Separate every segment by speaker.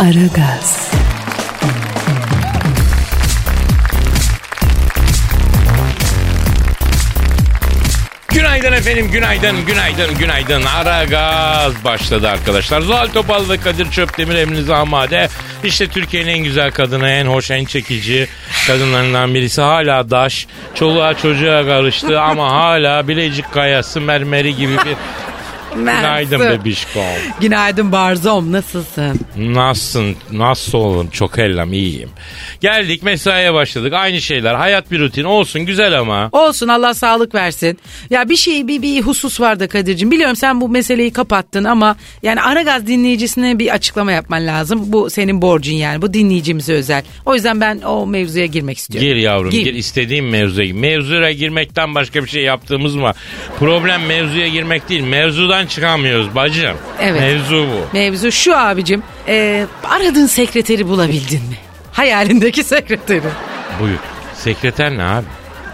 Speaker 1: Aragaz,
Speaker 2: Günaydın efendim, günaydın, günaydın, günaydın. Ara gaz başladı arkadaşlar. Zuhal Topal ve Kadir Çöptemir emrinize amade. İşte Türkiye'nin en güzel kadını, en hoş, en çekici kadınlarından birisi. Hala daş, çoluğa çocuğa karıştı ama hala Bilecik kayası mermeri gibi bir... Günaydın
Speaker 1: Mersi.
Speaker 2: bebişkom.
Speaker 1: Günaydın Barzom, nasılsın?
Speaker 2: Nasılsın? Nasıl oğlum? Çok ellam iyiyim. Geldik mesaiye başladık. Aynı şeyler. Hayat bir rutin olsun güzel ama.
Speaker 1: Olsun Allah sağlık versin. Ya bir şey bir, bir husus var da Kadir'cim. Biliyorum sen bu meseleyi kapattın ama yani Aragaz dinleyicisine bir açıklama yapman lazım. Bu senin borcun yani. Bu dinleyicimize özel. O yüzden ben o mevzuya girmek istiyorum.
Speaker 2: Gir yavrum gir. istediğin mevzuya gir. Mevzuya girmekten başka bir şey yaptığımız mı? var? Problem mevzuya girmek değil. Mevzudan çıkamıyoruz bacım.
Speaker 1: Evet.
Speaker 2: Mevzu bu.
Speaker 1: Mevzu şu abicim. Ee, aradığın sekreteri bulabildin mi? Hayalindeki sekreteri.
Speaker 2: Buyur. Sekreter ne abi?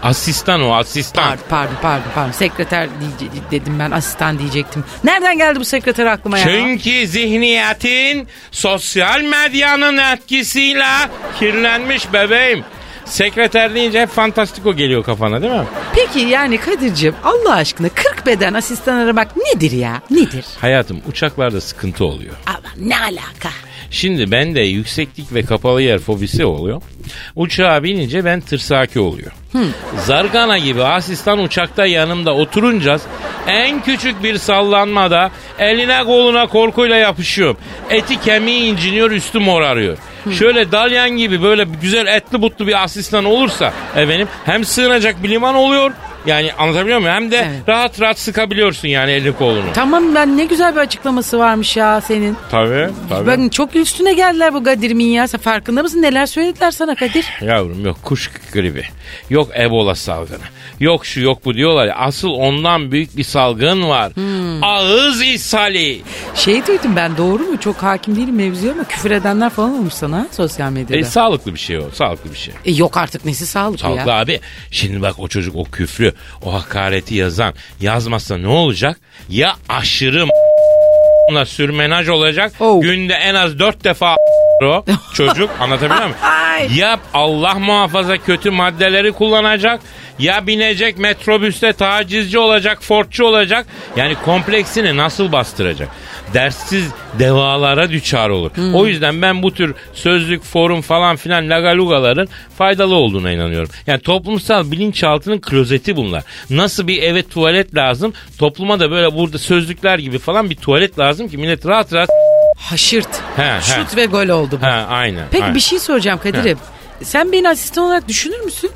Speaker 2: Asistan o asistan.
Speaker 1: Pardon pardon pardon. pardon. Sekreter diye- dedim ben asistan diyecektim. Nereden geldi bu sekreter aklıma ya?
Speaker 2: Şey Çünkü zihniyetin sosyal medyanın etkisiyle kirlenmiş bebeğim. Sekreter deyince hep fantastiko geliyor kafana değil mi?
Speaker 1: Peki yani Kadir'cim Allah aşkına 40 beden asistan aramak nedir ya? Nedir?
Speaker 2: Hayatım uçaklarda sıkıntı oluyor.
Speaker 1: Ama ne alaka?
Speaker 2: Şimdi ben de yükseklik ve kapalı yer fobisi oluyor. Uçağa binince ben tırsaki oluyor.
Speaker 1: Hmm.
Speaker 2: Zargana gibi asistan uçakta yanımda oturunca en küçük bir sallanmada eline koluna korkuyla yapışıyorum. Eti kemiği inciniyor üstü morarıyor.
Speaker 1: Hmm.
Speaker 2: Şöyle dalyan gibi böyle güzel etli butlu bir asistan olursa efendim hem sığınacak bir liman oluyor yani anlatabiliyor muyum? Hem de
Speaker 1: Evet.
Speaker 2: rahat rahat sıkabiliyorsun yani elini kolunu.
Speaker 1: Tamam ben ne güzel bir açıklaması varmış ya senin.
Speaker 2: Tabii tabii.
Speaker 1: Ben çok üstüne geldiler bu Kadir'imin ya. Sen farkında mısın neler söylediler sana Kadir?
Speaker 2: Yavrum yok kuş gribi, yok ebola salgını, yok şu yok bu diyorlar ya. Asıl ondan büyük bir salgın var.
Speaker 1: Hmm.
Speaker 2: Ağız ishali. E,
Speaker 1: Şey duydum ben doğru mu? Çok hakim değilim mevzuya ama küfür edenler falan olmuş sana ha, sosyal medyada.
Speaker 2: E, sağlıklı bir şey o, sağlıklı bir şey.
Speaker 1: E, yok artık nesi sağlık ya.
Speaker 2: Sağlıklı abi. Şimdi bak o çocuk o küfrü, o hakareti yazan yazmazsa ne olacak? Ya aşırı m***la sürmenaj olacak.
Speaker 1: Oh.
Speaker 2: Günde en az dört defa o çocuk anlatabiliyor muyum?
Speaker 1: Ay.
Speaker 2: Ya Allah muhafaza kötü maddeleri kullanacak ya binecek metrobüste tacizci olacak, fortçu olacak. Yani kompleksini nasıl bastıracak? Derssiz devalara düçar olur.
Speaker 1: Hmm.
Speaker 2: O yüzden ben bu tür sözlük, forum falan filan lagalugaların faydalı olduğuna inanıyorum. Yani toplumsal bilinçaltının klozeti bunlar. Nasıl bir eve tuvalet lazım? Topluma da böyle burada sözlükler gibi falan bir tuvalet lazım ki millet rahat rahat...
Speaker 1: Haşırt.
Speaker 2: He,
Speaker 1: Şut ve gol oldu bu.
Speaker 2: Ha, aynen.
Speaker 1: Peki
Speaker 2: aynen.
Speaker 1: bir şey soracağım Kadir'im. Sen beni asistan olarak düşünür müsün?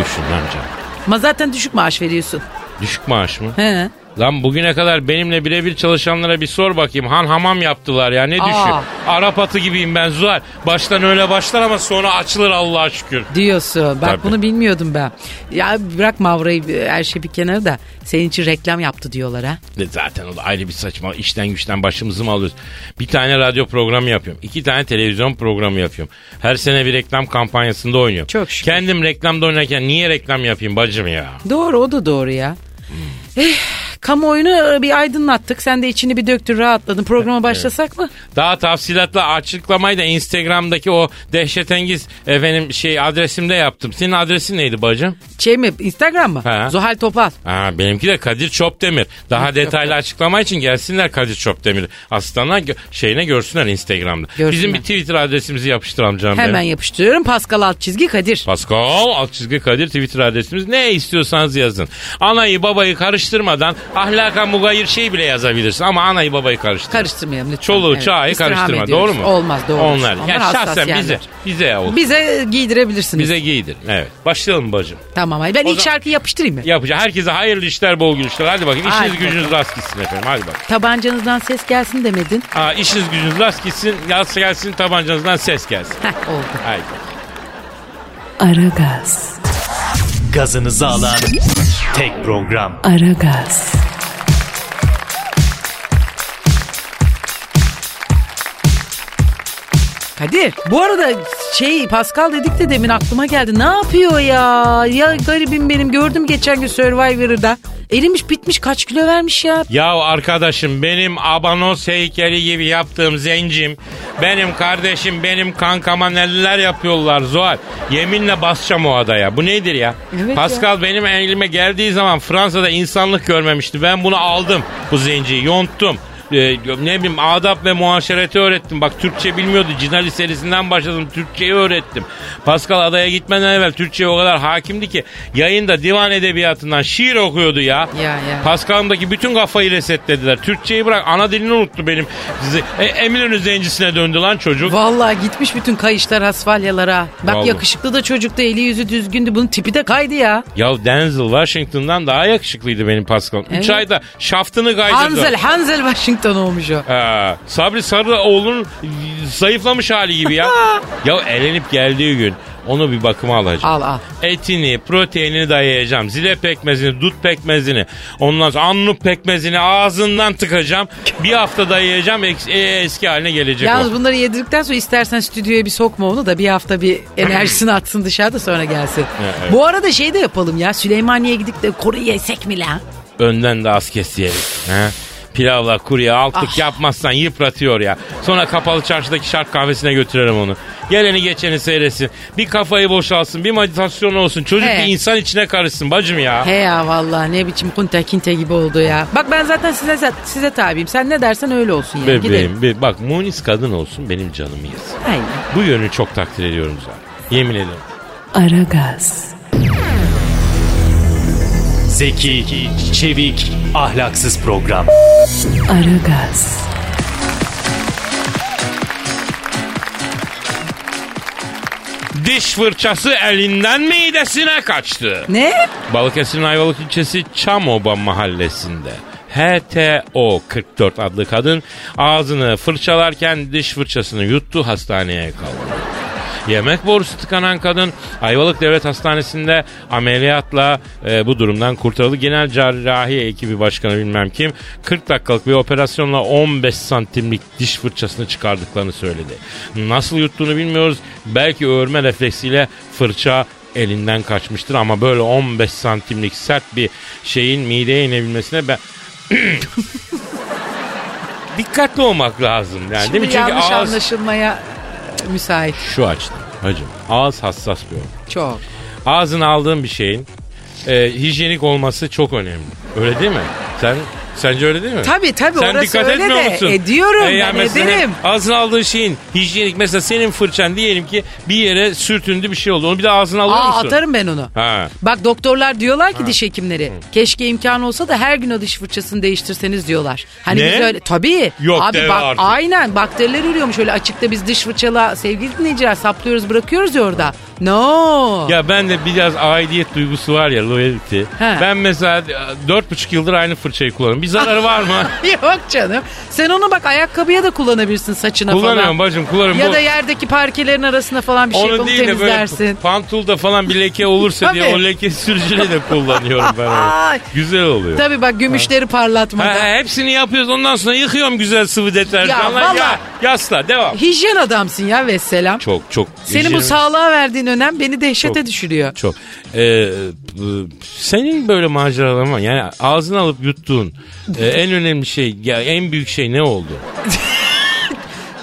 Speaker 2: Düşün lan canım.
Speaker 1: Ama zaten düşük maaş veriyorsun.
Speaker 2: Düşük maaş mı?
Speaker 1: He.
Speaker 2: Lan bugüne kadar benimle birebir çalışanlara bir sor bakayım. Han hamam yaptılar ya ne
Speaker 1: Aa.
Speaker 2: düşün. Arap atı gibiyim ben Zuhal. Baştan öyle başlar ama sonra açılır Allah'a şükür.
Speaker 1: Diyorsun. Bak
Speaker 2: Tabii.
Speaker 1: bunu bilmiyordum ben. Ya bırak Mavra'yı her şey bir kenara da senin için reklam yaptı diyorlar ha.
Speaker 2: E Zaten o da ayrı bir saçma. İşten güçten başımızı mı alıyoruz? Bir tane radyo programı yapıyorum. iki tane televizyon programı yapıyorum. Her sene bir reklam kampanyasında oynuyorum.
Speaker 1: Çok şükür.
Speaker 2: Kendim reklamda oynarken niye reklam yapayım bacım ya?
Speaker 1: Doğru o da doğru ya.
Speaker 2: Hmm.
Speaker 1: Eh, kamuoyunu e, bir aydınlattık. Sen de içini bir döktün rahatladın. Programa başlasak mı?
Speaker 2: Daha tafsilatla açıklamayı da Instagram'daki o dehşetengiz efendim şey adresimde yaptım. Senin adresin neydi bacım?
Speaker 1: Şey mi Instagram mı?
Speaker 2: He.
Speaker 1: Zuhal Topal.
Speaker 2: Ha, benimki de Kadir Çopdemir. Daha detaylı açıklama için gelsinler Kadir Çopdemir. Aslanlar gö- şeyine görsünler Instagram'da.
Speaker 1: Görsünler.
Speaker 2: Bizim bir Twitter adresimizi yapıştır amcam
Speaker 1: Hemen
Speaker 2: benim.
Speaker 1: yapıştırıyorum. Pascal alt çizgi Kadir.
Speaker 2: Pascal alt çizgi Kadir Twitter adresimiz. Ne istiyorsanız yazın. Anayı babayı karıştırmadan ahlaka mugayir şey bile yazabilirsin ama anayı babayı karıştırma.
Speaker 1: Karıştırmayalım lütfen.
Speaker 2: Çoluğu
Speaker 1: Evet,
Speaker 2: çağı
Speaker 1: istirham
Speaker 2: karıştırma
Speaker 1: ediyoruz.
Speaker 2: doğru mu?
Speaker 1: Olmaz doğru.
Speaker 2: Onlar.
Speaker 1: Onlar
Speaker 2: ya
Speaker 1: hassas
Speaker 2: şahsen
Speaker 1: yerler.
Speaker 2: bize. Bize yavrum.
Speaker 1: Bize giydirebilirsiniz.
Speaker 2: Bize giydir. Evet. Başlayalım bacım.
Speaker 1: Tamam. hayır. Ben
Speaker 2: O
Speaker 1: ilk
Speaker 2: zaman-
Speaker 1: şarkıyı yapıştırayım mı?
Speaker 2: Yapacağım. Herkese hayırlı işler, bol gülüşler. Hadi bakayım. İşiniz
Speaker 1: Hadi
Speaker 2: gücünüz rast gitsin efendim. Hadi bak.
Speaker 1: Tabancanızdan ses gelsin demedin.
Speaker 2: Aa, işiniz gücünüz rast gitsin. Yaz gelsin tabancanızdan ses gelsin.
Speaker 1: Heh oldu.
Speaker 2: Haydi.
Speaker 3: Aragaz,
Speaker 4: Gazınızı alan tek program.
Speaker 3: Aragaz,
Speaker 1: Kadir bu arada şey Pascal dedik de demin aklıma geldi. Ne yapıyor ya? Ya garibim benim gördüm geçen gün Survivor'da. Erimiş bitmiş kaç kilo vermiş ya.
Speaker 2: Ya arkadaşım benim abanos heykeli gibi yaptığım zencim, benim kardeşim, benim kankama neler yapıyorlar Zuhal. Yeminle basacağım o adaya. Bu nedir ya?
Speaker 1: Evet
Speaker 2: Pascal benim elime geldiği zaman Fransa'da insanlık görmemişti. Ben bunu aldım bu zenciyi, yonttum. Ee, ne bileyim adap ve muhaşereti öğrettim. Bak Türkçe bilmiyordu. Cina liselisinden başladım. Türkçeyi öğrettim. Pascal adaya gitmeden evvel Türkçeye o kadar hakimdi ki yayında divan edebiyatından şiir okuyordu ya.
Speaker 1: Ya, ya.
Speaker 2: Pascal'ımdaki bütün kafayı resetlediler. Türkçeyi bırak ana dilini unuttu benim. Z- E, Eminönü zencisine döndü lan çocuk.
Speaker 1: Vallahi gitmiş bütün kayışlar asfalyalara. Bak
Speaker 2: Vallahi.
Speaker 1: yakışıklı da çocuktu eli yüzü düzgündü. Bunun tipi de kaydı ya.
Speaker 2: ya Denzel Washington'dan daha yakışıklıydı benim Pascal. 3
Speaker 1: Evet.
Speaker 2: ayda şaftını kaydırdı.
Speaker 1: Hansel, Hansel Washington olmuş o.
Speaker 2: Ee, Sabri Sarıoğlu'nun e, zayıflamış hali gibi ya. ya elenip geldiği gün onu bir bakıma alacağım.
Speaker 1: Al al.
Speaker 2: Etini, proteinini dayayacağım. Zile pekmezini, dut pekmezini, ondan sonra annup pekmezini ağzından tıkacağım. bir hafta dayayacağım eks- e, eski haline gelecek o.
Speaker 1: Yalnız bunları yedirdikten sonra istersen stüdyoya bir sokma onu da bir hafta bir enerjisini atsın dışarıda sonra gelsin.
Speaker 2: evet.
Speaker 1: Bu arada şey de yapalım ya Süleymaniye'ye gidip de koru yesek mi lan?
Speaker 2: Önden de az kes yiyelim. He? Pilavla kurye altlık
Speaker 1: Ah.
Speaker 2: yapmazsan yıpratıyor ya. Sonra kapalı çarşıdaki şark kahvesine götürelim onu. Geleni geçeni seyretsin. Bir kafayı boşalsın. Bir meditasyon olsun. Çocuk
Speaker 1: He.
Speaker 2: bir insan içine karışsın bacım ya.
Speaker 1: He ya vallahi ne biçim kunta kinte gibi oldu ya. Bak ben zaten size size tabiyim. Sen ne dersen öyle olsun yani. Gidelim.
Speaker 2: Bebeğim be- bak Munis kadın olsun benim canımı yesin.
Speaker 1: Aynen.
Speaker 2: Bu yönü çok takdir ediyorum zaten. Yemin ederim.
Speaker 3: Aragaz,
Speaker 4: Zeki, çevik, ahlaksız program.
Speaker 3: Aragaz,
Speaker 2: Diş fırçası elinden midesine kaçtı.
Speaker 1: Ne?
Speaker 2: Balıkesir'in Ayvalık ilçesi Çamoba mahallesinde HTO 44 adlı kadın ağzını fırçalarken diş fırçasını yuttu hastaneye kaldırdı. Yemek borusu tıkanan kadın Ayvalık Devlet Hastanesi'nde ameliyatla e, bu durumdan kurtarıldı. Genel cerrahi ekibi başkanı bilmem kim 40 dakikalık bir operasyonla 15 santimlik diş fırçasını çıkardıklarını söyledi. Nasıl yuttuğunu bilmiyoruz. Belki örme refleksiyle fırça elinden kaçmıştır ama böyle 15 santimlik sert bir şeyin mideye inebilmesine ben dikkatli olmak lazım yani
Speaker 1: Şimdi
Speaker 2: Hani değil mi? Çünkü
Speaker 1: yanlış
Speaker 2: ağız
Speaker 1: anlaşılmaya e, müsait.
Speaker 2: şu açtı hacım. Ağız hassas bir organ.
Speaker 1: Çok.
Speaker 2: Ağzına aldığın bir şeyin e, hijyenik olması çok önemli. Öyle değil mi? Sen sence öyle değil mi?
Speaker 1: Tabii, tabii,
Speaker 2: Sen
Speaker 1: orası
Speaker 2: dikkat
Speaker 1: öyle
Speaker 2: etmiyor
Speaker 1: de.
Speaker 2: musun? E,
Speaker 1: Ediyorum, ben
Speaker 2: mesela
Speaker 1: ederim.
Speaker 2: Ağzına aldığın şeyin hijyenik mesela senin fırçan diyelim ki bir yere sürtündü bir şey oldu. Onu bir de ağzına alıyor
Speaker 1: Aa
Speaker 2: musun?
Speaker 1: atarım ben onu.
Speaker 2: Ha.
Speaker 1: Bak doktorlar diyorlar ki diş hekimleri keşke imkan olsa da her gün o diş fırçasını değiştirseniz diyorlar. Hani
Speaker 2: Ne?
Speaker 1: biz öyle tabii.
Speaker 2: Yok
Speaker 1: Abi
Speaker 2: deme
Speaker 1: bak
Speaker 2: artık.
Speaker 1: aynen bakteriler ürüyormuş öyle açıkta biz diş fırçala sevgili dinleyiciler saplıyoruz bırakıyoruz ya orada. No.
Speaker 2: Ya ben de biraz aidiyet duygusu var ya loyalty.
Speaker 1: He.
Speaker 2: Ben mesela e, dört buçuk yıldır aynı fırçayı kullanıyorum. Bir zararı var mı?
Speaker 1: Yok canım. Sen onu bak ayakkabıya da kullanabilirsin saçına
Speaker 2: kullanıyorum
Speaker 1: falan.
Speaker 2: bacım kullanıyorum.
Speaker 1: Ya
Speaker 2: Bu-
Speaker 1: da yerdeki parkelerin arasına falan bir şey
Speaker 2: Onu
Speaker 1: yapıp
Speaker 2: değil de böyle
Speaker 1: temizlersin.
Speaker 2: pantulda falan bir leke olursa diye
Speaker 1: Tabii.
Speaker 2: o leke sürücüyle de kullanıyorum ben onu.
Speaker 1: Ay.
Speaker 2: Güzel oluyor.
Speaker 1: Tabii bak gümüşleri
Speaker 2: Ha,
Speaker 1: parlatmadan.
Speaker 2: ha, hepsini yapıyoruz ondan sonra yıkıyorum güzel sıvı deterjanla.
Speaker 1: Ya valla-
Speaker 2: Ya, yasla devam.
Speaker 1: Hijyen adamsın ya vesselam.
Speaker 2: Çok çok.
Speaker 1: Senin bu
Speaker 2: hijyenik-
Speaker 1: sağlığa verdiğin önem beni dehşete
Speaker 2: Çok.
Speaker 1: düşürüyor.
Speaker 2: Çok. Ee, bu- senin böyle maceraların var. Yani ağzına alıp yuttuğun e, en önemli şey, ya en büyük şey ne oldu?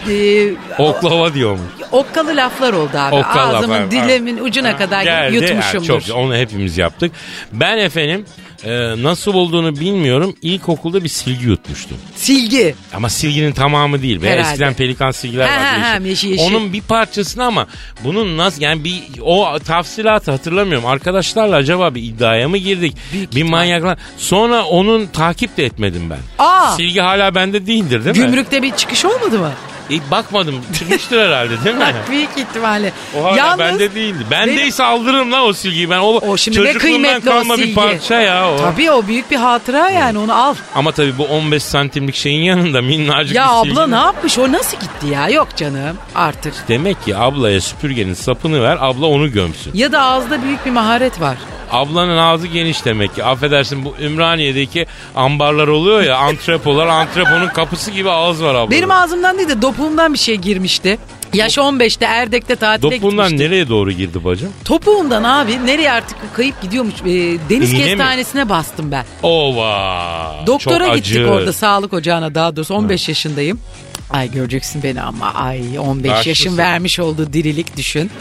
Speaker 1: e,
Speaker 2: Oklava diyormuş.
Speaker 1: okkalı laflar oldu abi.
Speaker 2: Okkalı
Speaker 1: Ağzımın
Speaker 2: laflar,
Speaker 1: dilemin ucuna kadar
Speaker 2: Geldi.
Speaker 1: yutmuşumdur.
Speaker 2: Ha, çok güzel. Onu hepimiz yaptık. Ben efendim e, nasıl olduğunu bilmiyorum. İlkokulda bir silgi yutmuştum.
Speaker 1: Silgi.
Speaker 2: Ama silginin tamamı değil. Be.
Speaker 1: Herhalde.
Speaker 2: Eskiden pelikan silgiler
Speaker 1: Ha,
Speaker 2: vardı.
Speaker 1: ha, ha, yeşil, yeşil.
Speaker 2: Onun bir parçasını ama bunun nasıl yani bir o tafsilatı hatırlamıyorum. Arkadaşlarla acaba bir iddiaya mı girdik? bir manyaklar. Sonra onun takip de etmedim ben.
Speaker 1: Aa!
Speaker 2: Silgi hala bende değildir değil mi?
Speaker 1: Gümrükte bir çıkış olmadı mı?
Speaker 2: E, bakmadım. Çıkmıştır herhalde değil mi?
Speaker 1: Bak büyük ihtimalle.
Speaker 2: O hala
Speaker 1: Yalnız-
Speaker 2: bende değildi.
Speaker 1: Benim-
Speaker 2: Bendeyse aldırırım lan o silgiyi. Ben o,
Speaker 1: O şimdi ne
Speaker 2: çocukluğumdan
Speaker 1: kıymetli o
Speaker 2: kalma
Speaker 1: silgi.
Speaker 2: bir parça ya o.
Speaker 1: Tabii o büyük bir hatıra yani onu al.
Speaker 2: Ama tabii bu 15 santimlik şeyin yanında minnacık
Speaker 1: Ya
Speaker 2: bir
Speaker 1: abla
Speaker 2: silgi.
Speaker 1: ne yapmış o nasıl gitti ya yok canım artık.
Speaker 2: Demek ki ablaya süpürgenin sapını ver abla onu gömsün.
Speaker 1: Ya da ağızda büyük bir maharet var.
Speaker 2: Ablanın ağzı geniş demek ki. Affedersin bu Ümraniye'deki ambarlar oluyor ya antrepolar antreponun kapısı gibi ağız var ablanın.
Speaker 1: Benim ağzımdan değil de topuğumdan bir şey girmişti. Yaş 15'te Erdek'te tatile
Speaker 2: Dopundan
Speaker 1: gitmiştim.
Speaker 2: nereye doğru girdi bacım?
Speaker 1: Topuğumdan abi nereye artık kayıp gidiyormuş. e, deniz
Speaker 2: İğne mi?
Speaker 1: kestanesine bastım ben.
Speaker 2: Ova.
Speaker 1: Doktora
Speaker 2: Çok
Speaker 1: gittik
Speaker 2: acı.
Speaker 1: orada sağlık ocağına daha doğrusu 15 yaşındayım. Ay göreceksin beni ama ay 15
Speaker 2: Haklısın.
Speaker 1: yaşım vermiş olduğu dirilik düşün.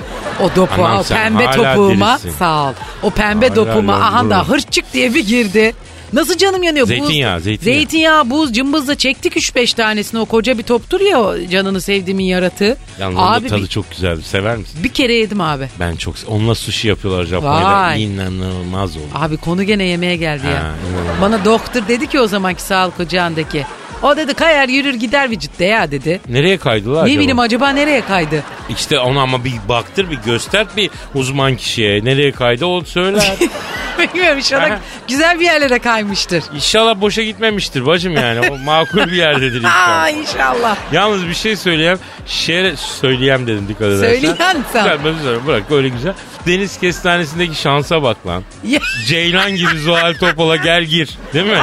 Speaker 1: O dopu,
Speaker 2: Anam
Speaker 1: o
Speaker 2: sen
Speaker 1: pembe
Speaker 2: hala
Speaker 1: topuğuma
Speaker 2: dirisin.
Speaker 1: sağ ol. O pembe
Speaker 2: Hala
Speaker 1: dopuğuma
Speaker 2: yavrum,
Speaker 1: aha da
Speaker 2: bravo.
Speaker 1: hırçık diye bir girdi. Nasıl canım yanıyor?
Speaker 2: Zeytinyağı,
Speaker 1: buz,
Speaker 2: zeytinyağı.
Speaker 1: zeytinyağı, buz, cımbızla çektik 3-5 tanesini. O koca bir toptur ya o canını sevdiğimin yaratığı.
Speaker 2: Yalnız onun da
Speaker 1: abi
Speaker 2: tadı
Speaker 1: bir,
Speaker 2: çok güzeldi. Sever misin?
Speaker 1: bir kere yedim abi.
Speaker 2: Ben çok onunla sushi yapıyorlar Japonya'da.
Speaker 1: Vay.
Speaker 2: İnanılmaz oldu.
Speaker 1: Abi konu gene yemeğe geldi ya.
Speaker 2: Ha, inanılmaz.
Speaker 1: Bana doktor dedi ki o zamanki sağlık ocağındaki. O dedi kayar yürür gider vücutta ya dedi.
Speaker 2: Nereye kaydılar
Speaker 1: Ne
Speaker 2: acaba?
Speaker 1: bileyim acaba nereye kaydı?
Speaker 2: İşte ona ama bir baktır bir göster bir uzman kişiye. Nereye kaydı o söyler.
Speaker 1: Bilmiyorum inşallah
Speaker 2: Aha.
Speaker 1: güzel bir yerlere kaymıştır.
Speaker 2: İnşallah boşa gitmemiştir bacım yani. O makul bir yerdedir inşallah.
Speaker 1: Aa inşallah.
Speaker 2: Yalnız bir şey söyleyeyim. Şere söyleyeyim dedim dikkat edersen.
Speaker 1: Söyleyen sen.
Speaker 2: Güzel, ben söyleyeyim. Bırak öyle güzel. Deniz kestanesindeki şansa bak lan.
Speaker 1: Ya,
Speaker 2: Ceylan gibi Zuhal Topal'a gel gir. Değil mi?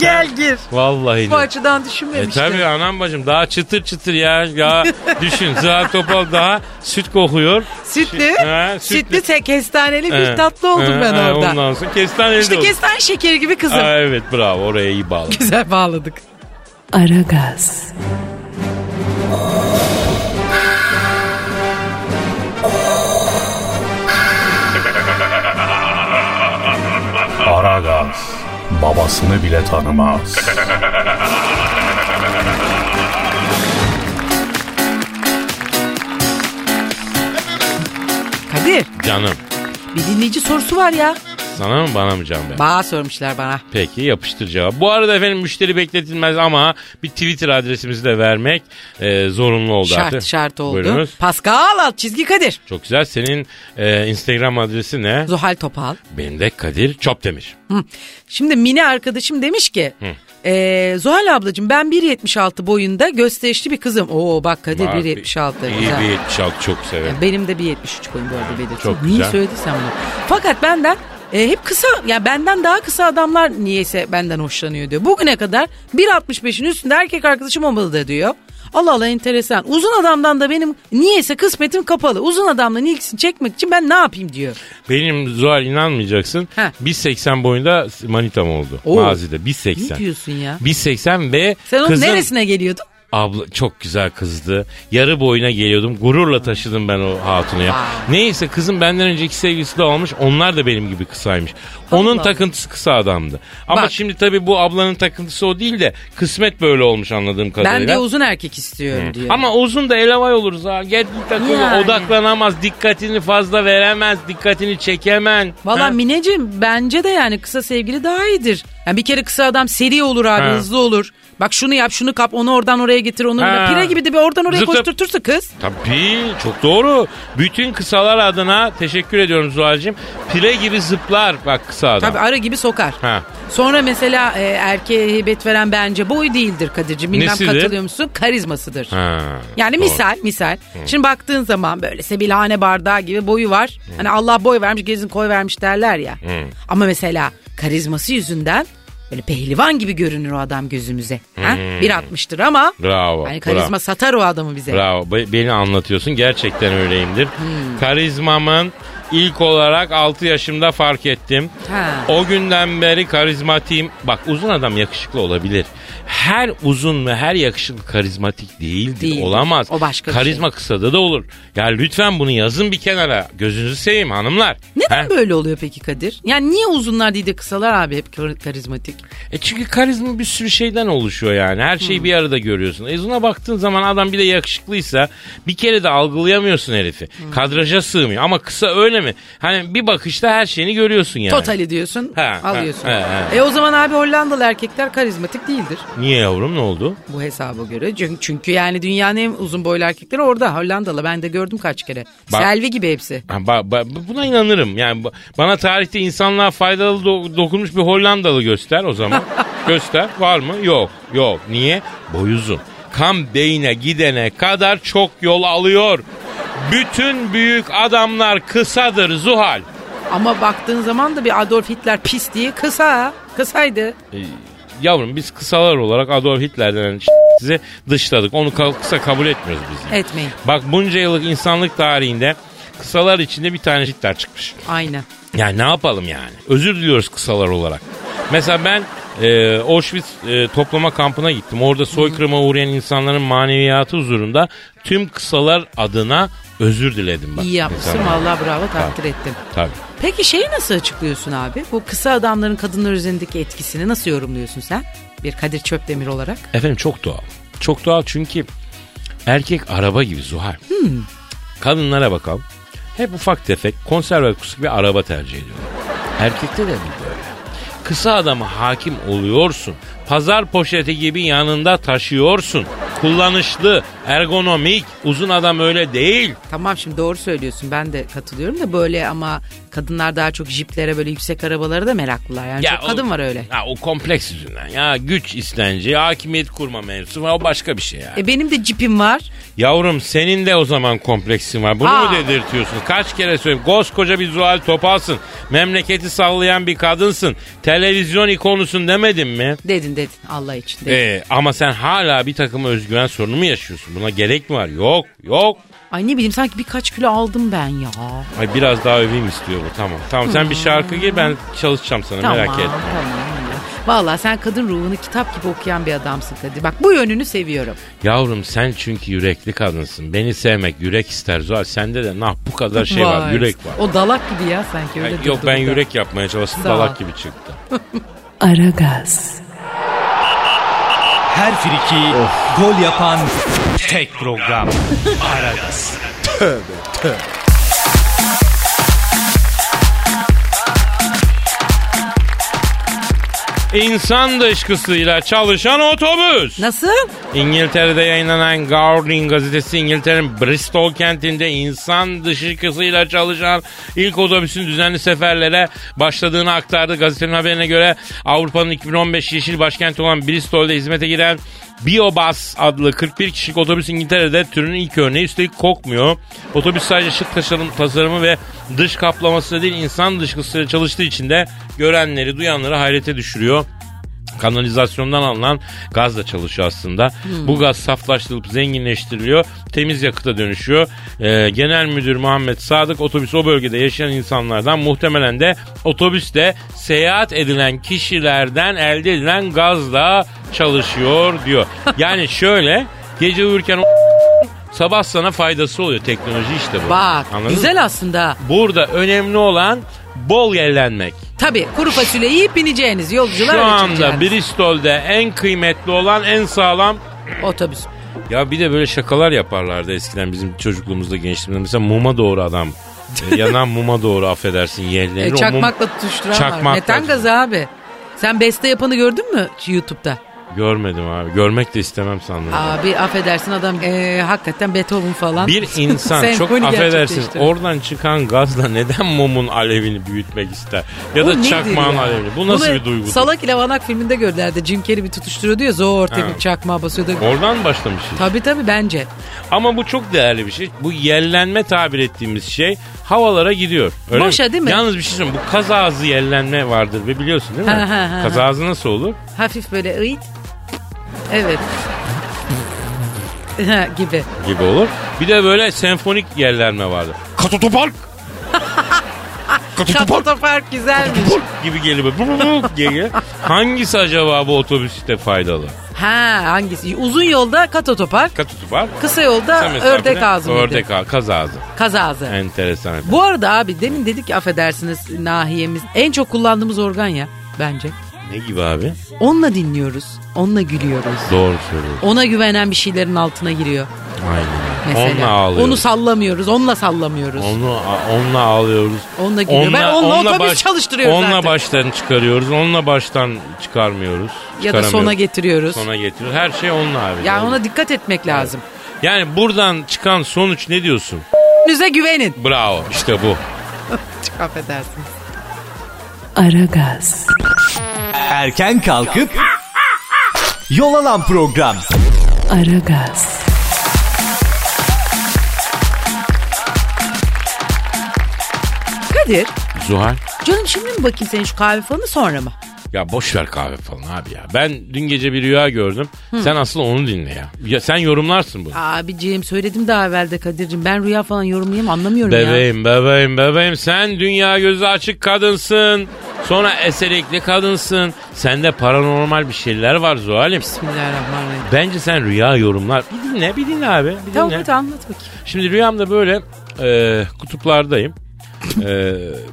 Speaker 1: Gel gir.
Speaker 2: Vallahi.
Speaker 1: Bu
Speaker 2: de.
Speaker 1: açıdan
Speaker 2: E
Speaker 1: düşünmemiştim.
Speaker 2: tabi anam bacım daha çıtır çıtır ya. ya düşün Zuhal Topal daha süt kokuyor.
Speaker 1: Sütlü,
Speaker 2: Ha,
Speaker 1: sütlü,
Speaker 2: sütlü.
Speaker 1: tek kestaneli
Speaker 2: He.
Speaker 1: bir tatlı oldum
Speaker 2: He,
Speaker 1: ben
Speaker 2: he,
Speaker 1: orada.
Speaker 2: ee, Ondan sonra kestaneli de
Speaker 1: İşte
Speaker 2: oldu.
Speaker 1: kestane şekeri gibi kızım.
Speaker 2: Aa, evet bravo oraya iyi bağladın.
Speaker 1: Güzel bağladık.
Speaker 3: Aragaz,
Speaker 5: Aragaz babasını bile tanımaz.
Speaker 1: Kadir
Speaker 2: Canım
Speaker 1: bir dinleyici sorusu var ya.
Speaker 2: sana mı bana mı can be?
Speaker 1: Bana sormuşlar bana.
Speaker 2: Peki yapıştır cevap. Bu arada efendim müşteri bekletilmez ama bir Twitter adresimizi de vermek e, zorunlu oldu
Speaker 1: şart
Speaker 2: artık.
Speaker 1: şart oldu.
Speaker 2: Buyurunuz.
Speaker 1: Pascal alt çizgi Kadir.
Speaker 2: Çok güzel. Senin e, Instagram adresi ne?
Speaker 1: Zuhal Topal.
Speaker 2: Benim de Kadir Çopdemir.
Speaker 1: Hı. Şimdi Mine arkadaşım demiş ki eee Zuhal ablacığım ben 1.76 boyunda gösterişli bir kızım. Oo bak Kadir
Speaker 2: Var,
Speaker 1: 1.76
Speaker 2: bir- İyi
Speaker 1: güzel.
Speaker 2: bir 76 çok severim.
Speaker 1: Yani benim de 1.73 boyum bu arada belirteyim.
Speaker 2: Çok
Speaker 1: Niye
Speaker 2: güzel.
Speaker 1: söylediysem bunu. Fakat benden e, hep kısa ya benden daha kısa adamlar niyeyse benden hoşlanıyor diyor. Bugüne kadar 1.65'in üstünde erkek arkadaşım olmadı da diyor. Allah Allah enteresan. Uzun adamdan da benim niyeyse kısmetim kapalı. Uzun adamların ilgisini çekmek için ben ne yapayım diyor.
Speaker 2: Benim Zuhal inanmayacaksın.
Speaker 1: Heh.
Speaker 2: 1.80 boyunda manitam oldu.
Speaker 1: Oo.
Speaker 2: Mazide
Speaker 1: Ne
Speaker 2: 1.80.
Speaker 1: diyorsun ya?
Speaker 2: 1.80 ve
Speaker 1: Sen onun
Speaker 2: kızın
Speaker 1: neresine geliyordun?
Speaker 2: Abla çok güzel kızdı. Yarı boyuna geliyordum. Gururla taşıdım ben o hatunu ya.
Speaker 1: Vay.
Speaker 2: Neyse kızım benden önceki sevgilisi de olmuş. Onlar da benim gibi kısaymış. Onun
Speaker 1: Allah.
Speaker 2: takıntısı kısa adamdı. Ama
Speaker 1: Bak.
Speaker 2: şimdi tabii bu ablanın takıntısı o değil de kısmet böyle olmuş anladığım kadarıyla.
Speaker 1: Ben de uzun erkek istiyorum diyor.
Speaker 2: Ama uzun da elavay oluruz ha. Gel bir takılı
Speaker 1: Yani.
Speaker 2: odaklanamaz. Dikkatini fazla veremez. Dikkatini çekemen.
Speaker 1: Valla
Speaker 2: Ha?
Speaker 1: Mineciğim bence de yani kısa sevgili daha iyidir. Yani bir kere kısa adam seri olur abi
Speaker 2: Ha.
Speaker 1: hızlı olur. Bak şunu yap şunu kap onu oradan oraya getir onu.
Speaker 2: Ha.
Speaker 1: Pire gibi de bir oradan oraya
Speaker 2: Zıtıp.
Speaker 1: koşturtursa kız.
Speaker 2: Tabii çok doğru. Bütün kısalar adına teşekkür ediyorum Zuhal'cığım. Pire gibi zıplar bak kısa adam.
Speaker 1: Tabii ara gibi sokar.
Speaker 2: Ha.
Speaker 1: Sonra mesela e, erkeğe heybet veren bence boy değildir Kadir'ciğim. Bilmem
Speaker 2: Nesidir?
Speaker 1: katılıyor musun? Karizmasıdır.
Speaker 2: Ha,
Speaker 1: Yani
Speaker 2: doğru.
Speaker 1: misal misal. Şimdi baktığın zaman böyle sebilhane bardağı gibi boyu var. Hani Allah boy vermiş gezin koy vermiş derler ya. Ama mesela karizması yüzünden böyle pehlivan gibi görünür o adam gözümüze. Ha? 1.60'tır ama
Speaker 2: Bravo.
Speaker 1: hani karizma
Speaker 2: bravo.
Speaker 1: satar o adamı bize.
Speaker 2: Bravo. Be- Beni anlatıyorsun. Gerçekten öyleyimdir.
Speaker 1: Hmm.
Speaker 2: Karizmamın ilk olarak 6 yaşımda fark ettim.
Speaker 1: Ha.
Speaker 2: O günden beri karizmatiyim. Bak uzun adam yakışıklı olabilir. her uzun ve her yakışıklı karizmatik değildir.
Speaker 1: Değildir.
Speaker 2: Olamaz.
Speaker 1: O başka bir şey.
Speaker 2: Karizma kısada da olur. Ya lütfen bunu yazın bir kenara. Gözünüzü seveyim hanımlar.
Speaker 1: Neden
Speaker 2: Ha?
Speaker 1: böyle oluyor peki Kadir? Yani niye uzunlar değil de kısalar abi hep kar- karizmatik?
Speaker 2: E çünkü karizma bir sürü şeyden oluşuyor yani. Her şeyi bir arada görüyorsun. Ezuna baktığın zaman adam bir de yakışıklıysa bir kere de algılayamıyorsun herifi. Kadraja sığmıyor ama kısa öyle mi? Hani bir bakışta her şeyini görüyorsun yani.
Speaker 1: Totali diyorsun,
Speaker 2: Ha, ha,
Speaker 1: alıyorsun.
Speaker 2: ha, ha.
Speaker 1: E o zaman abi Hollandalı erkekler karizmatik değildir
Speaker 2: Niye yavrum ne oldu?
Speaker 1: bu hesaba göre. Çünkü, çünkü yani dünyanın en uzun boylu erkekleri orada Hollandalı. Ben de gördüm kaç kere.
Speaker 2: Bak-
Speaker 1: Selvi gibi hepsi.
Speaker 2: Ha, ba- ba- buna inanırım. Yani ba- bana tarihte insanlığa faydalı do- dokunmuş bir Hollandalı göster o zaman. göster. Var mı? Yok. Yok. Niye? Boyuzum. Kan beyine gidene kadar çok yol alıyor. Bütün büyük adamlar kısadır Zuhal.
Speaker 1: Ama baktığın zaman da bir Adolf Hitler pis diye kısa. Kısaydı.
Speaker 2: Ee, Yavrum biz kısalar olarak Adolf Hitler'den size dışladık. Onu ka- kısa kabul etmiyoruz biz. yani.
Speaker 1: Etmeyin.
Speaker 2: Bak bunca yıllık insanlık tarihinde kısalar içinde bir tane Hitler çıkmış.
Speaker 1: Aynen.
Speaker 2: Yani ne yapalım yani? Özür diliyoruz kısalar olarak. Mesela ben e, Auschwitz e, toplama kampına gittim. Orada soykırıma uğrayan insanların maneviyatı huzurunda tüm kısalar adına özür diledim. Bak.
Speaker 1: İyi yapmışsın.
Speaker 2: İnsanlara.
Speaker 1: Vallahi bravo takdir ettim.
Speaker 2: Tabii.
Speaker 1: Peki şeyi nasıl açıklıyorsun abi? Bu kısa adamların kadınlar üzerindeki etkisini nasıl yorumluyorsun sen? Bir Kadir Çöpdemir olarak.
Speaker 2: Efendim çok doğal. Çok doğal çünkü erkek araba gibi Zuhal.
Speaker 1: Hmm.
Speaker 2: Kadınlara bakalım. Hep ufak tefek konserve kutusu bir araba tercih ediyorlar. Erkekte de bir böyle. Kısa adama hakim oluyorsun. Pazar poşeti gibi yanında taşıyorsun. Kullanışlı, ergonomik. Uzun adam öyle değil.
Speaker 1: Tamam şimdi doğru söylüyorsun ben de katılıyorum da böyle ama kadınlar daha çok jiplere böyle yüksek arabalara da meraklılar. Yani çok
Speaker 2: o-
Speaker 1: kadın var öyle.
Speaker 2: Ya o kompleks yüzünden. Ya güç istenci, hakimiyet kurma mevzusu var. O başka bir şey yani.
Speaker 1: E benim de jipim var.
Speaker 2: Yavrum senin de o zaman kompleksin var. Bunu
Speaker 1: Aa.
Speaker 2: mu dedirtiyorsun? Kaç kere söyleyeyim. Koskoca bir Zuhal Topal'sın. Memleketi sallayan bir kadınsın. Televizyon ikonusun demedim mi?
Speaker 1: Dedin dedin Allah için. Dedin.
Speaker 2: Ee, ama sen hala bir takım özgüven sorunu mu yaşıyorsun? Buna gerek mi var? Yok, yok.
Speaker 1: Ay ne bileyim sanki birkaç kilo aldım ben ya.
Speaker 2: Ay biraz daha öveyim istiyor bu. Tamam. Tamam sen bir şarkı gir ben çalışacağım sana
Speaker 1: Tamam
Speaker 2: merak etme.
Speaker 1: tamam. Valla sen kadın ruhunu kitap gibi okuyan bir adamsın Kadir. Bak bu yönünü seviyorum.
Speaker 2: Yavrum sen çünkü yürekli kadınsın. Beni sevmek yürek ister Zuhal. Sende de nah bu kadar şey var, yürek var.
Speaker 1: O dalak gibi ya sanki öyle.
Speaker 2: Ay, yok
Speaker 1: durdu
Speaker 2: ben
Speaker 1: bu da.
Speaker 2: yürek yapmaya çalıştım
Speaker 1: Sağ ol.
Speaker 2: dalak gibi çıktı.
Speaker 3: Aragaz,
Speaker 4: Her friki gol yapan tek program. Aragaz.
Speaker 2: İnsan dışkısıyla çalışan otobüs.
Speaker 1: Nasıl?
Speaker 2: İngiltere'de yayınlanan Guardian gazetesi İngiltere'nin Bristol kentinde insan dışkısıyla çalışan ilk otobüsün düzenli seferlere başladığını aktardı. Gazetenin haberine göre Avrupa'nın 2015 yeşil başkenti olan Bristol'de hizmete giren Biobus adlı 41 kişilik otobüs İngiltere'de türünün ilk örneği üstelik kokmuyor. Otobüs sadece şık tasarım, tasarımı ve dış kaplaması değil insan dışkısıyla çalıştığı için de görenleri duyanları hayrete düşürüyor kanalizasyondan alınan gazla çalışıyor aslında.
Speaker 1: Hmm.
Speaker 2: Bu gaz saflaştırılıp zenginleştiriliyor. Temiz yakıta dönüşüyor. Ee, Genel Müdür Muhammed Sadık otobüs o bölgede yaşayan insanlardan muhtemelen de otobüste seyahat edilen kişilerden elde edilen gazla çalışıyor diyor. Yani şöyle gece uyurken o- sabah sana faydası oluyor teknoloji işte bu.
Speaker 1: Bak
Speaker 2: Anladın mı?
Speaker 1: güzel aslında.
Speaker 2: Burada önemli olan bol yerlenmek.
Speaker 1: Tabii kuru fasulye yiyip bineceğiniz yolcular
Speaker 2: Şu
Speaker 1: öyle
Speaker 2: anda
Speaker 1: çıkacağınız.
Speaker 2: Bristol'de en kıymetli olan en sağlam
Speaker 1: Otobüs.
Speaker 2: ya bir de böyle şakalar yaparlardı eskiden bizim çocukluğumuzda gençliğimizde. Mesela muma doğru adam. E, Yanan muma doğru affedersin yerlenir.
Speaker 1: E,
Speaker 2: O mum-
Speaker 1: çakmakla tutuşturan var.
Speaker 2: Çakmakla-
Speaker 1: Metan gazı abi. Sen beste yapanı gördün mü YouTube'da?
Speaker 2: Görmedim abi. Görmek de istemem sandım.
Speaker 1: Abi affedersin adam e, hakikaten Beethoven falan.
Speaker 2: Bir insan çok
Speaker 1: Senfoni
Speaker 2: affedersin
Speaker 1: gerçekleştirdi.
Speaker 2: oradan çıkan gazla neden mumun alevini büyütmek ister? Ya
Speaker 1: Bu
Speaker 2: da
Speaker 1: nedir
Speaker 2: çakmağın
Speaker 1: ya?
Speaker 2: alevini. Bu nasıl
Speaker 1: Bunu
Speaker 2: bir duygu?
Speaker 1: Salak ile Vanak filminde gördüler de Jim Carrey bir tutuşturuyor diyor zor ortaya
Speaker 2: Ha.
Speaker 1: bir çakmağa basıyor da.
Speaker 2: Oradan başlamış. iş.
Speaker 1: Tabii tabii bence.
Speaker 2: Ama bu çok değerli bir şey. Bu yerlenme tabir ettiğimiz şey havalara gidiyor.
Speaker 1: Boşa değil mi?
Speaker 2: Yalnız bir şey söyleyeyim. Bu kaz ağzı yerlenme vardır ve biliyorsun değil mi?
Speaker 1: Ha, ha, ha,
Speaker 2: kaz
Speaker 1: ha.
Speaker 2: ağzı nasıl olur?
Speaker 1: Hafif böyle ıyt. Evet. Ha, gibi.
Speaker 2: Gibi olur. Bir de böyle senfonik yerlenme vardır. Katotopark
Speaker 1: Katotopark güzelmiş.
Speaker 2: gibi geliyor. böyle. diye geliyor. Hangisi acaba bu otobüste faydalı?
Speaker 1: Ha hangisi? Uzun yolda kat otopark.
Speaker 2: Katı tupar.
Speaker 1: Kısa yolda
Speaker 2: Kısa mesafede
Speaker 1: ördek ağzı mıydı?
Speaker 2: Ördek ağzı, kaz ağzı.
Speaker 1: Kaz ağzı.
Speaker 2: Enteresan. efendim.
Speaker 1: Bu arada abi demin dedik ki affedersiniz nahiyemiz. En çok kullandığımız organ ya bence.
Speaker 2: Ne gibi abi?
Speaker 1: Onunla dinliyoruz. Onunla gülüyoruz.
Speaker 2: Doğru söylüyorsun.
Speaker 1: Ona güvenen bir şeylerin altına giriyor
Speaker 2: Aynen.
Speaker 1: mesela.
Speaker 2: Onunla ağlıyoruz.
Speaker 1: Onu sallamıyoruz. Onunla sallamıyoruz.
Speaker 2: Onu onunla ağlıyoruz.
Speaker 1: Onunla gülüyor. Ben onunla otobüs çalıştırıyoruz
Speaker 2: Onunla
Speaker 1: artık.
Speaker 2: baştan çıkarıyoruz. Onunla baştan çıkarmıyoruz.
Speaker 1: ya da sona
Speaker 2: Çıkaramıyoruz.
Speaker 1: getiriyoruz.
Speaker 2: Sona getiriyoruz. Her şey onunla abi.
Speaker 1: Yani ona dikkat etmek lazım.
Speaker 2: Yani buradan çıkan sonuç ne diyorsun?
Speaker 1: Nüze güvenin.
Speaker 2: Bravo. İşte bu.
Speaker 1: Çok affedersiniz.
Speaker 3: Aragaz,
Speaker 4: Erken kalkıp yol alan program.
Speaker 3: Aragaz,
Speaker 1: Kadir
Speaker 2: Zuhal.
Speaker 1: canım şimdi mi bakayım senin şu kahve falanı sonra mı?
Speaker 2: Ya boş ver kahve falan abi ya. Ben dün gece bir rüya gördüm. Sen aslında onu dinle ya. Ya sen yorumlarsın bunu.
Speaker 1: Abiciğim söyledim daha evvel de Kadir'cim ben rüya falan yorumlayayım anlamıyorum ya.
Speaker 2: Bebeğim bebeğim bebeğim sen dünya gözü açık kadınsın. Sonra eserikli kadınsın. Sende paranormal bir şeyler var Zuhal'im.
Speaker 1: Bismillahirrahmanirrahim.
Speaker 2: Bence sen rüya yorumlar. Bir dinle bir dinle abi. Bir
Speaker 1: Tamam
Speaker 2: dinle.
Speaker 1: hadi anlat bakayım.
Speaker 2: Şimdi rüyamda böyle e, kutuplardayım. E,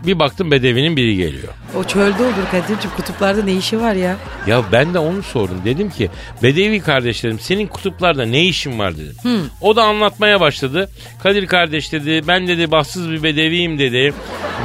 Speaker 2: bir baktım bedevinin biri geliyor.
Speaker 1: O çölde olur Kadir'cim kutuplarda ne işi var ya?
Speaker 2: Ya ben de onu sordum. Dedim ki Bedevi kardeşlerim senin kutuplarda ne işin var dedim.
Speaker 1: Hmm.
Speaker 2: O da anlatmaya başladı. Kadir kardeş dedi ben dedi bahtsız bir bedeviyim dedi.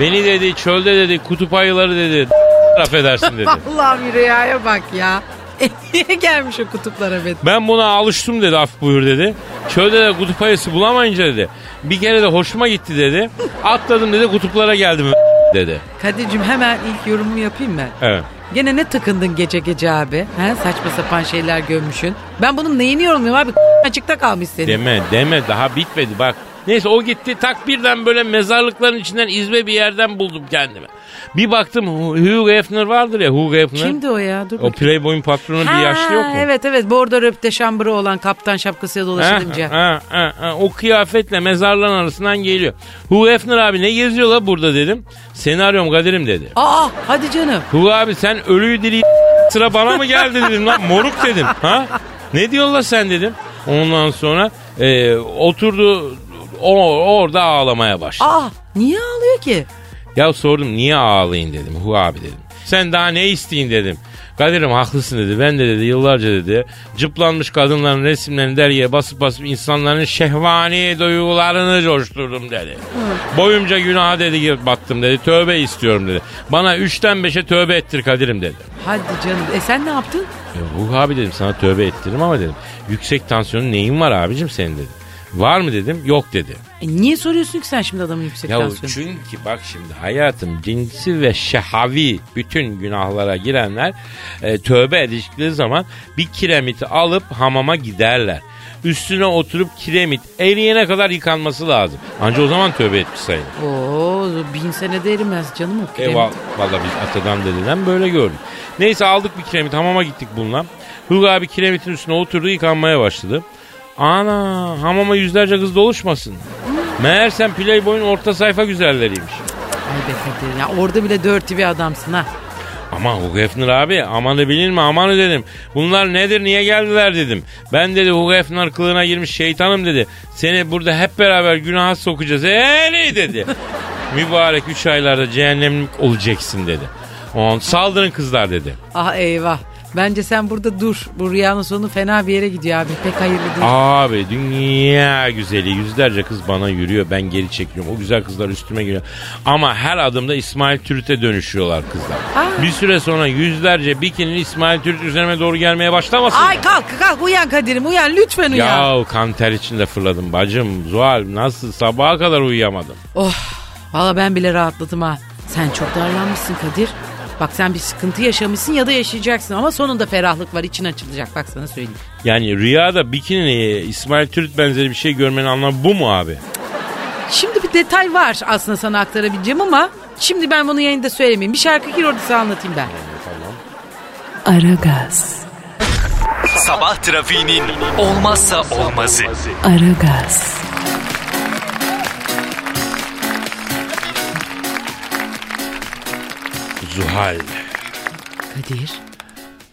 Speaker 2: Beni dedi çölde dedi kutup ayıları dedi. affedersin dedi.
Speaker 1: Vallahi bir rüyaya bak ya. E, Niye gelmiş o kutuplara be?
Speaker 2: Ben buna alıştım dedi af buyur dedi. Çölde de kutup ayısı bulamayınca dedi. Bir kere de hoşuma gitti dedi. Atladım dedi kutuplara geldim dedi.
Speaker 1: Kadir'cim hemen ilk yorumumu yapayım ben.
Speaker 2: Evet.
Speaker 1: Gene ne takındın gece gece abi? He? Saçma sapan şeyler gömmüşün. Ben bunun neyini yorumluyorum abi? Açıkta kalmış senin.
Speaker 2: Deme deme daha bitmedi bak. Neyse o gitti tak birden böyle mezarlıkların içinden izbe bir yerden buldum kendimi. Bir baktım Hugh Hefner vardır ya Hugh Hefner.
Speaker 1: Kimdi o ya? Dur
Speaker 2: O
Speaker 1: bakayım.
Speaker 2: Playboy'un patronu bir yaşlı yok mu?
Speaker 1: Evet evet bordo röpte şambırı olan kaptan şapkasıyla
Speaker 2: Ha,
Speaker 1: dolaşılınca.
Speaker 2: ha, ha, ha. O kıyafetle mezarların arasından geliyor. Hugh Hefner abi ne geziyor la burada dedim. Senaryom Kadir'im dedi.
Speaker 1: Aa hadi canım.
Speaker 2: Hugh abi sen ölüyü diri sıra bana mı geldi dedim lan moruk dedim. Ha? Ne diyorlar sen dedim. Ondan sonra e, oturdu o, orada ağlamaya başladı.
Speaker 1: Aa niye ağlıyor ki?
Speaker 2: Ya sordum niye ağlayın dedim Hu abi dedim. Sen daha ne isteyin dedim. Kadir'im haklısın dedi. Ben de dedi yıllarca dedi cıplanmış kadınların resimlerini dergiye basıp basıp insanların şehvani duygularını coşturdum dedi. Boyumca günaha dedi ki battım dedi. Tövbe istiyorum dedi. Bana üçten beşe tövbe ettir Kadir'im dedi.
Speaker 1: Hadi canım. E sen ne yaptın?
Speaker 2: E, Ruh abi dedim sana tövbe ettiririm ama dedim. Yüksek tansiyonun neyin var abicim senin dedim. Var mı dedim. Yok dedi.
Speaker 1: E, niye soruyorsun ki sen şimdi adamın yüksek
Speaker 2: Ya
Speaker 1: tansiyonu?
Speaker 2: çünkü bak şimdi hayatım cinsi ve şehavi bütün günahlara girenler e, tövbe edildikleri zaman bir kiremiti alıp hamama giderler. Üstüne oturup kiremit eriyene kadar yıkanması lazım. Anca o zaman tövbe etmiş sayılır.
Speaker 1: Oo bin senede erimez canım o krem.
Speaker 2: E, val- valla biz atadan dededen böyle gördük. Neyse aldık bir kiremit hamama gittik bununla. Hulga abi kiremitin üstüne oturdu yıkanmaya başladı. Ana hamama yüzlerce kız doluşmasın. Meğersem Playboy'un orta sayfa güzelleriymiş.
Speaker 1: Ay be Kadir ya orada bile dörtü bir adamsın ha.
Speaker 2: Ama Hugh Hefner abi amanı bilir mi amanı dedim. Bunlar nedir niye geldiler dedim. Ben dedi Hugh Hefner kılığına girmiş şeytanım dedi. Seni burada hep beraber günaha sokacağız. Eee ne?" dedi. Mübarek 3 aylarda cehennemlik olacaksın dedi. On, saldırın kızlar dedi.
Speaker 1: Ah eyvah. Bence sen burada dur. Bu rüyanın sonu fena bir yere gidiyor abi. Pek hayırlı değil.
Speaker 2: Abi dünya güzeli yüzlerce kız bana yürüyor ben geri çekiliyorum. O güzel kızlar üstüme geliyor. Ama her adımda İsmail Türüt'e dönüşüyorlar kızlar.
Speaker 1: Aa.
Speaker 2: Bir süre sonra yüzlerce bikinili İsmail Türüt üzerime doğru gelmeye başlamasın.
Speaker 1: Ay kalk kalk uyan Kadir'im uyan lütfen uyan.
Speaker 2: Ya kan ter içinde fırladım bacım. Zuhal nasıl sabaha kadar uyuyamadım.
Speaker 1: Oh valla ben bile rahatladım ha. Sen çok darlanmışsın Kadir. Bak sen bir sıkıntı yaşamışsın ya da yaşayacaksın ama sonunda ferahlık var için açılacak bak sana söyleyeyim.
Speaker 2: Yani rüyada bikini İsmail Türüt benzeri bir şey görmenin anlamı bu mu abi?
Speaker 1: Şimdi bir detay var aslında sana aktarabileceğim ama şimdi ben bunu yayında söylemeyeyim. Bir şarkı gir orada sana anlatayım ben.
Speaker 3: Aragaz,
Speaker 4: Sabah trafiğinin olmazsa olmazı.
Speaker 3: Aragaz,
Speaker 2: Zuhal.
Speaker 1: Kadir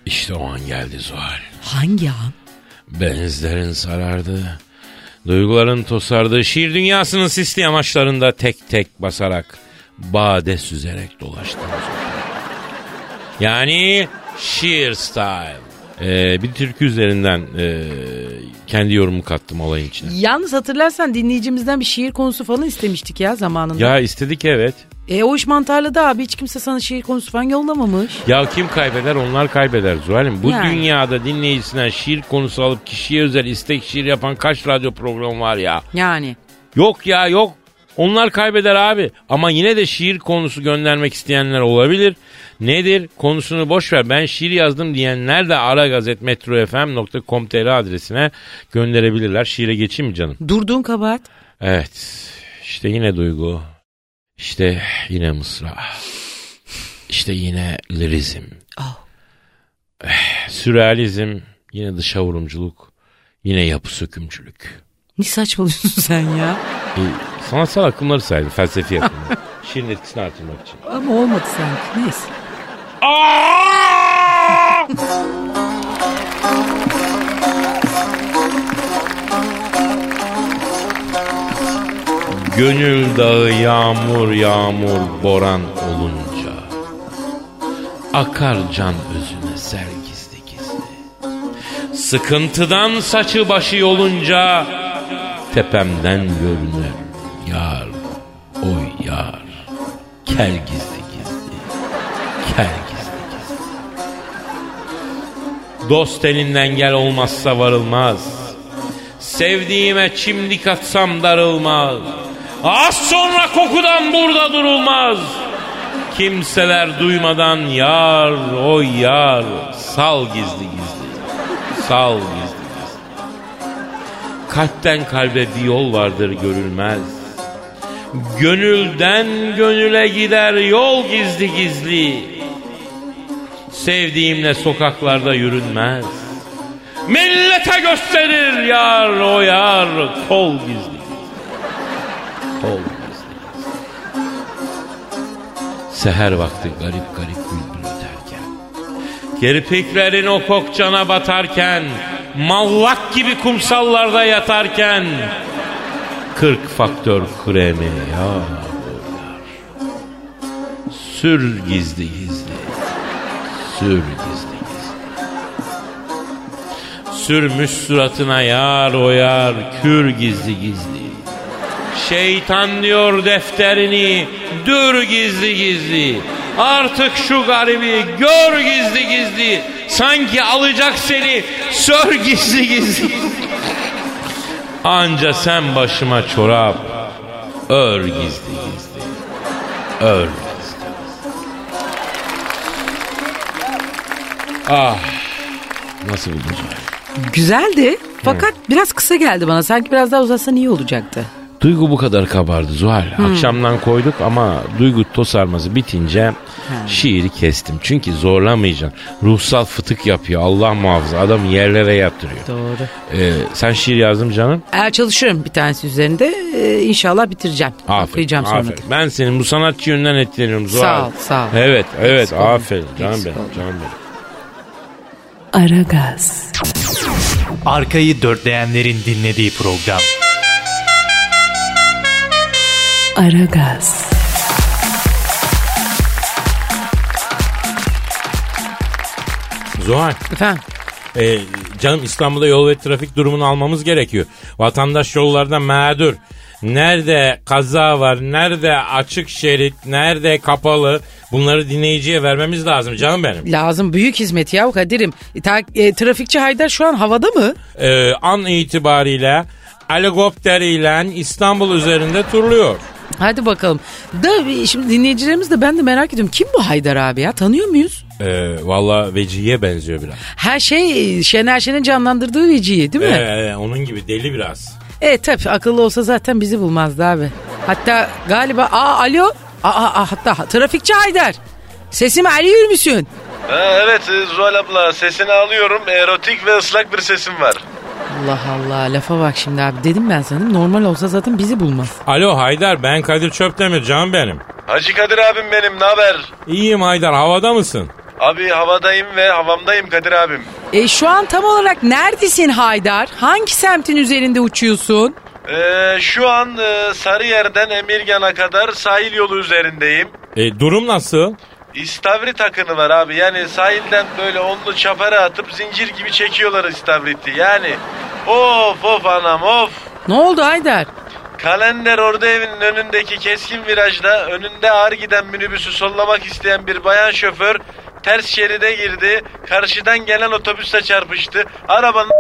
Speaker 2: İşte o an geldi Zuhal.
Speaker 1: Hangi an?
Speaker 2: Benizlerin sarardı. Duyguların tosardığı şiir dünyasının sisli yamaçlarında tek tek basarak bade süzerek dolaştım. Yani şiir style. Ee, bir türkü üzerinden e, kendi yorumumu kattım olayın içine.
Speaker 1: Yalnız hatırlarsan dinleyicimizden bir şiir konusu falan istemiştik ya zamanında.
Speaker 2: Ya istedik evet.
Speaker 1: E o iş mantarladı abi hiç kimse sana şiir konusu falan yollamamış.
Speaker 2: Ya kim kaybeder onlar kaybeder Zuhal'im. Bu
Speaker 1: Yani.
Speaker 2: dünyada dinleyicisinden şiir konusu alıp kişiye özel istek şiir yapan kaç radyo programı var ya.
Speaker 1: Yani.
Speaker 2: Yok ya yok. Onlar kaybeder abi. Ama yine de şiir konusu göndermek isteyenler olabilir. Nedir? Konusunu boş ver. Ben şiir yazdım diyenler de aragazetmetrofm.com.tr adresine gönderebilirler. Şiire geçeyim mi canım?
Speaker 1: Durduğun kabahat.
Speaker 2: Evet. İşte yine duygu. İşte yine mısra. İşte yine lirizm.
Speaker 1: Oh.
Speaker 2: Eh, Sürrealizm. Yine dışa vurumculuk. Yine yapı sökümcülük.
Speaker 1: Ne saçmalıyorsun sen ya?
Speaker 2: E, sanatsal akımları saydım. Felsefi akımları. Şiirin etkisini artırmak için.
Speaker 1: Ama olmadı sanki. Neyse.
Speaker 2: Gönül dağı yağmur yağmur boran olunca Akar can özüne ser gizli gizli Sıkıntıdan saçı başı yolunca Tepemden görünür yar oy yar Kel gizli gizli kel gizli gizli Dost elinden gel olmazsa varılmaz Sevdiğime çimdik atsam darılmaz. Az sonra kokudan burada durulmaz. Kimseler duymadan yar o yar sal gizli gizli. Sal gizli gizli. Kalpten kalbe bir yol vardır görülmez. Gönülden gönüle gider yol gizli gizli. Sevdiğimle sokaklarda yürünmez. Millete gösterir yar o yar kol gizli. gizli. Kol gizli. gizli. Seher vakti garip garip bülbül öterken. Kirpiklerin o kokcana batarken. Mallak gibi kumsallarda yatarken. Kırk faktör kremi ya. Sür gizli gizli. Sür gizli gizli. Sürmüş suratına yar o yar kür gizli gizli. Şeytan diyor defterini dür gizli gizli. Artık şu garibi gör gizli gizli. Sanki alacak seni sör gizli gizli. Anca sen başıma çorap ör gizli gizli. Ör gizli. Ah nasıl buldun?
Speaker 1: Güzeldi. Fakat biraz kısa geldi bana. Sanki biraz daha uzatsan iyi olacaktı.
Speaker 2: Duygu bu kadar kabardı Zuhal.
Speaker 1: Hmm.
Speaker 2: Akşamdan koyduk ama duygu tosarması bitince şiiri kestim. Çünkü zorlamayacaksın. Ruhsal fıtık yapıyor Allah muhafaza. Adamı yerlere yaptırıyor.
Speaker 1: Doğru.
Speaker 2: Ee, sen şiir yazdım canım.
Speaker 1: Eğer çalışıyorum bir tanesi üzerinde. Ee, inşallah bitireceğim. Okuyacağım sonra.
Speaker 2: aferin. Ben senin bu sanatçı yönünden etkileniyorum Zuhal.
Speaker 1: Sağ ol, sağ ol.
Speaker 2: Evet, evet.
Speaker 1: Eksik olma,
Speaker 2: aferin. Canım
Speaker 1: eksik
Speaker 2: benim,
Speaker 1: olma.
Speaker 2: canım benim.
Speaker 3: Aragaz,
Speaker 4: Arkayı dörtleyenlerin dinlediği program.
Speaker 3: Aragaz,
Speaker 2: Zuhal,
Speaker 1: Efendim.
Speaker 2: e, canım İstanbul'da yol ve trafik durumunu almamız gerekiyor. Vatandaş yollarda mağdur. Nerede kaza var, nerede açık şerit, nerede kapalı bunları dinleyiciye vermemiz lazım canım benim.
Speaker 1: Lazım büyük hizmet ya Kadir'im. E, ta- e, trafikçi Haydar şu an havada mı?
Speaker 2: Ee, an itibariyle helikopteriyle İstanbul üzerinde turluyor.
Speaker 1: Hadi bakalım. Da e, şimdi dinleyicilerimiz de ben de merak ediyorum. Kim bu Haydar abi ya? Tanıyor muyuz?
Speaker 2: Ee, Valla Vecihi'ye benziyor biraz.
Speaker 1: Her şey e, Şener Şen'in canlandırdığı veciyi değil mi?
Speaker 2: Ee, onun gibi deli biraz.
Speaker 1: E tabi akıllı olsa zaten bizi bulmazdı abi. Hatta galiba aa alo aa, aa hatta trafikçi Haydar. Sesimi alıyor musun?
Speaker 6: Ha, evet e, Zuhal abla sesini alıyorum. Erotik ve ıslak bir sesim var.
Speaker 1: Allah Allah lafa bak şimdi abi dedim ben sana değil mi? normal olsa zaten bizi bulmaz.
Speaker 2: Alo Haydar ben Kadir Çöptemir canım benim.
Speaker 6: Hacı Kadir abim benim ne haber?
Speaker 2: İyiyim Haydar havada mısın?
Speaker 6: Abi havadayım ve havamdayım Kadir abim.
Speaker 1: E, şu an tam olarak neredesin Haydar? Hangi semtin üzerinde uçuyorsun?
Speaker 6: Ee, şu an e, Sarıyer'den Emirgan'a kadar sahil yolu üzerindeyim.
Speaker 2: E, durum nasıl?
Speaker 6: İstavrit akını var abi. Yani sahilden böyle onlu çapara atıp zincir gibi çekiyorlar İstavrit'i. Yani of of anam of.
Speaker 1: Ne oldu Haydar?
Speaker 6: Kalender orada evinin önündeki keskin virajda önünde ağır giden minibüsü sollamak isteyen bir bayan şoför ters şeride girdi. Karşıdan gelen otobüsle çarpıştı. Arabanın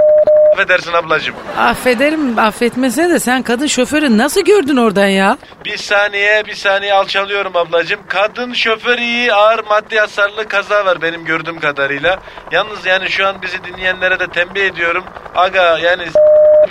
Speaker 6: affedersin ablacığım.
Speaker 1: Affederim affetmesine de sen kadın şoförü nasıl gördün oradan ya?
Speaker 6: Bir saniye bir saniye alçalıyorum ablacığım. Kadın şoför iyi ağır maddi hasarlı kaza var benim gördüğüm kadarıyla. Yalnız yani şu an bizi dinleyenlere de tembih ediyorum. Aga yani s-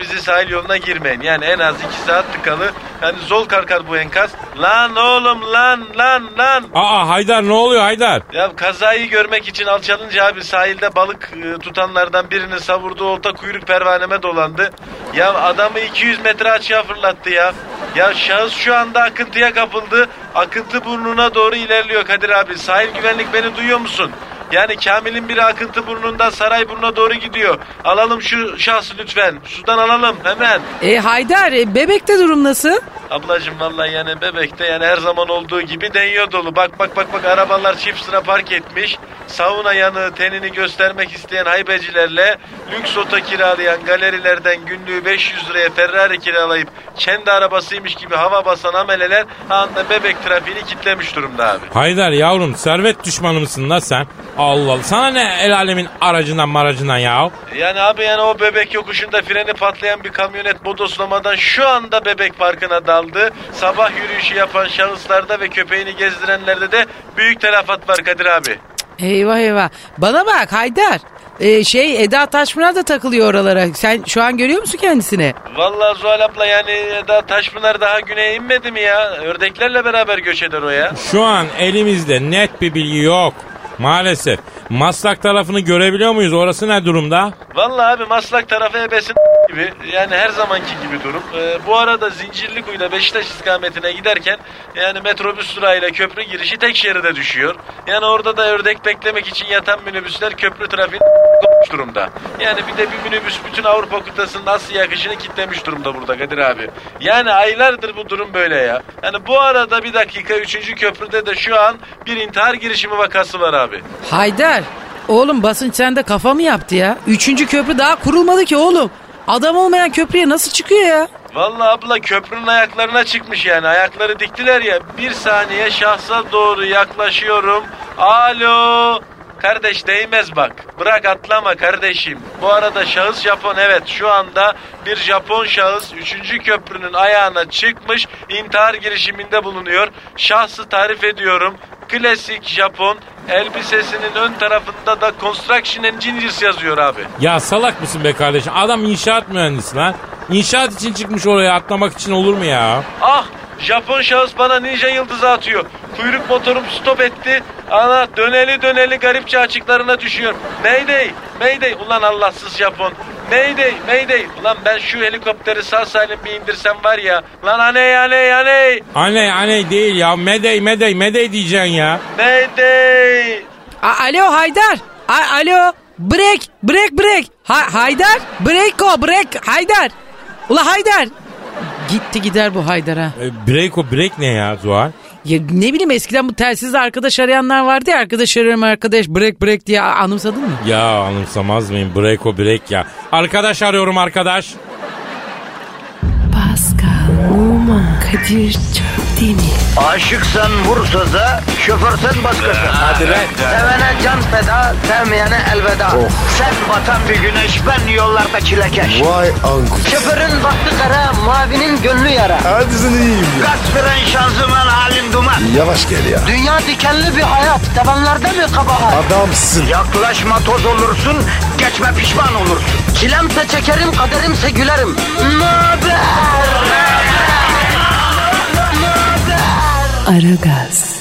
Speaker 6: bizi sahil yoluna girmeyin. Yani en az iki saat tıkalı. Yani zol karkar bu enkaz. Lan oğlum lan lan lan.
Speaker 2: Aa Haydar ne oluyor Haydar?
Speaker 6: Ya kazayı görmek için alçalınca abi sahilde balık e, tutanlardan birinin savurduğu olta kuyruk pervaneme dolandı. Ya adamı 200 metre açığa fırlattı ya. Ya şahıs şu anda akıntıya kapıldı. Akıntı burnuna doğru ilerliyor Kadir abi. Sahil güvenlik beni duyuyor musun? Yani Kamil'in biri akıntı burnundan saray burnuna doğru gidiyor. Alalım şu şahsı lütfen. Sudan alalım hemen.
Speaker 1: E Haydar e, bebekte durum nasıl?
Speaker 6: Ablacım vallahi yani bebekte yani her zaman olduğu gibi deniyor dolu. Bak bak bak bak arabalar çift sıra park etmiş. Sauna yanığı tenini göstermek isteyen haybecilerle lüks oto kiralayan galerilerden günlüğü 500 liraya Ferrari kiralayıp kendi arabasıymış gibi hava basan ameleler anda bebek trafiğini kitlemiş durumda abi.
Speaker 2: Haydar yavrum servet düşmanı mısın la sen? Allah Allah. Sana ne el alemin aracından maracından ya?
Speaker 6: Yani abi yani o bebek yokuşunda freni patlayan bir kamyonet bodoslamadan şu anda bebek parkına daldı. Sabah yürüyüşü yapan şahıslarda ve köpeğini gezdirenlerde de büyük telafat var Kadir abi.
Speaker 1: Eyvah eyvah. Bana bak Haydar. E, şey Eda Taşmınar da takılıyor oralara. Sen şu an görüyor musun kendisini?
Speaker 6: Vallahi Zuhal abla yani daha Taşpınar daha güneye inmedi mi ya? Ördeklerle beraber göç eder o ya.
Speaker 2: Şu an elimizde net bir bilgi yok. Maalesef. Maslak tarafını görebiliyor muyuz? Orası ne durumda?
Speaker 6: Vallahi abi Maslak tarafı ebesin gibi. Yani her zamanki gibi durum. Ee, bu arada Zincirlikuyu'da Beşiktaş istikametine giderken yani metrobüs durağıyla köprü girişi tek şeride düşüyor. Yani orada da ördek beklemek için yatan minibüsler köprü trafiğini kopmuş durumda. Yani bir de bir minibüs bütün Avrupa kıtasının Asya akışını kitlemiş durumda burada Kadir abi. Yani aylardır bu durum böyle ya. Yani bu arada bir dakika 3. köprüde de şu an bir intihar girişimi vakası var abi.
Speaker 1: Haydar. Oğlum basınç sende kafa mı yaptı ya? Üçüncü köprü daha kurulmadı ki oğlum. Adam olmayan köprüye nasıl çıkıyor ya?
Speaker 6: Vallahi abla köprünün ayaklarına çıkmış yani. Ayakları diktiler ya. Bir saniye şahsa doğru yaklaşıyorum. Alo. Kardeş değmez bak. Bırak atlama kardeşim. Bu arada şahıs Japon evet şu anda bir Japon şahıs 3. köprünün ayağına çıkmış intihar girişiminde bulunuyor. Şahsı tarif ediyorum. Klasik Japon elbisesinin ön tarafında da Construction Engineers yazıyor abi.
Speaker 2: Ya salak mısın be kardeşim? Adam inşaat mühendisi lan. İnşaat için çıkmış oraya atlamak için olur mu ya?
Speaker 6: Ah Japon şahıs bana ninja yıldızı atıyor. Kuyruk motorum stop etti. Ana döneli döneli garipçe açıklarına düşüyorum. Mayday, mayday. Ulan Allahsız Japon. Mayday, mayday. Ulan ben şu helikopteri sağ salim bir indirsem var ya. Lan aney aney aney.
Speaker 2: Aney aney değil ya. Medey medey medey diyeceksin ya.
Speaker 6: Mayday.
Speaker 1: A- Alo Haydar. A- Alo. Break, break, break. Ha- Haydar. Break o, break. Haydar. Ula Haydar. Gitti gider bu Haydar ha.
Speaker 2: E, break o break ne ya Zuhal?
Speaker 1: Ya ne bileyim eskiden bu telsizde arkadaş arayanlar vardı ya. Arkadaş arıyorum arkadaş break break diye A- anımsadın mı?
Speaker 2: Ya anımsamaz mıyım? Break o break ya. Arkadaş arıyorum arkadaş.
Speaker 3: Pascal, Oman, Kadir çok değil mi?
Speaker 7: Aşıksan vursa da, şoförsen başkasın. Hadi Sevene can feda, sevmeyene elveda. Sen batan bir güneş, ben yollarda çilekeş.
Speaker 8: Vay anku.
Speaker 7: Şoförün baktı kara, mavinin gönlü yara.
Speaker 8: Hadi sen iyiyim ya.
Speaker 7: Kasperen şanzıman halin duman.
Speaker 8: Yavaş gel ya.
Speaker 7: Dünya dikenli bir hayat, sevenlerde mi kabahar?
Speaker 8: Adamsın.
Speaker 7: Yaklaşma toz olursun, geçme pişman olursun. Çilemse çekerim, kaderimse gülerim. Möber!
Speaker 3: Aragaz.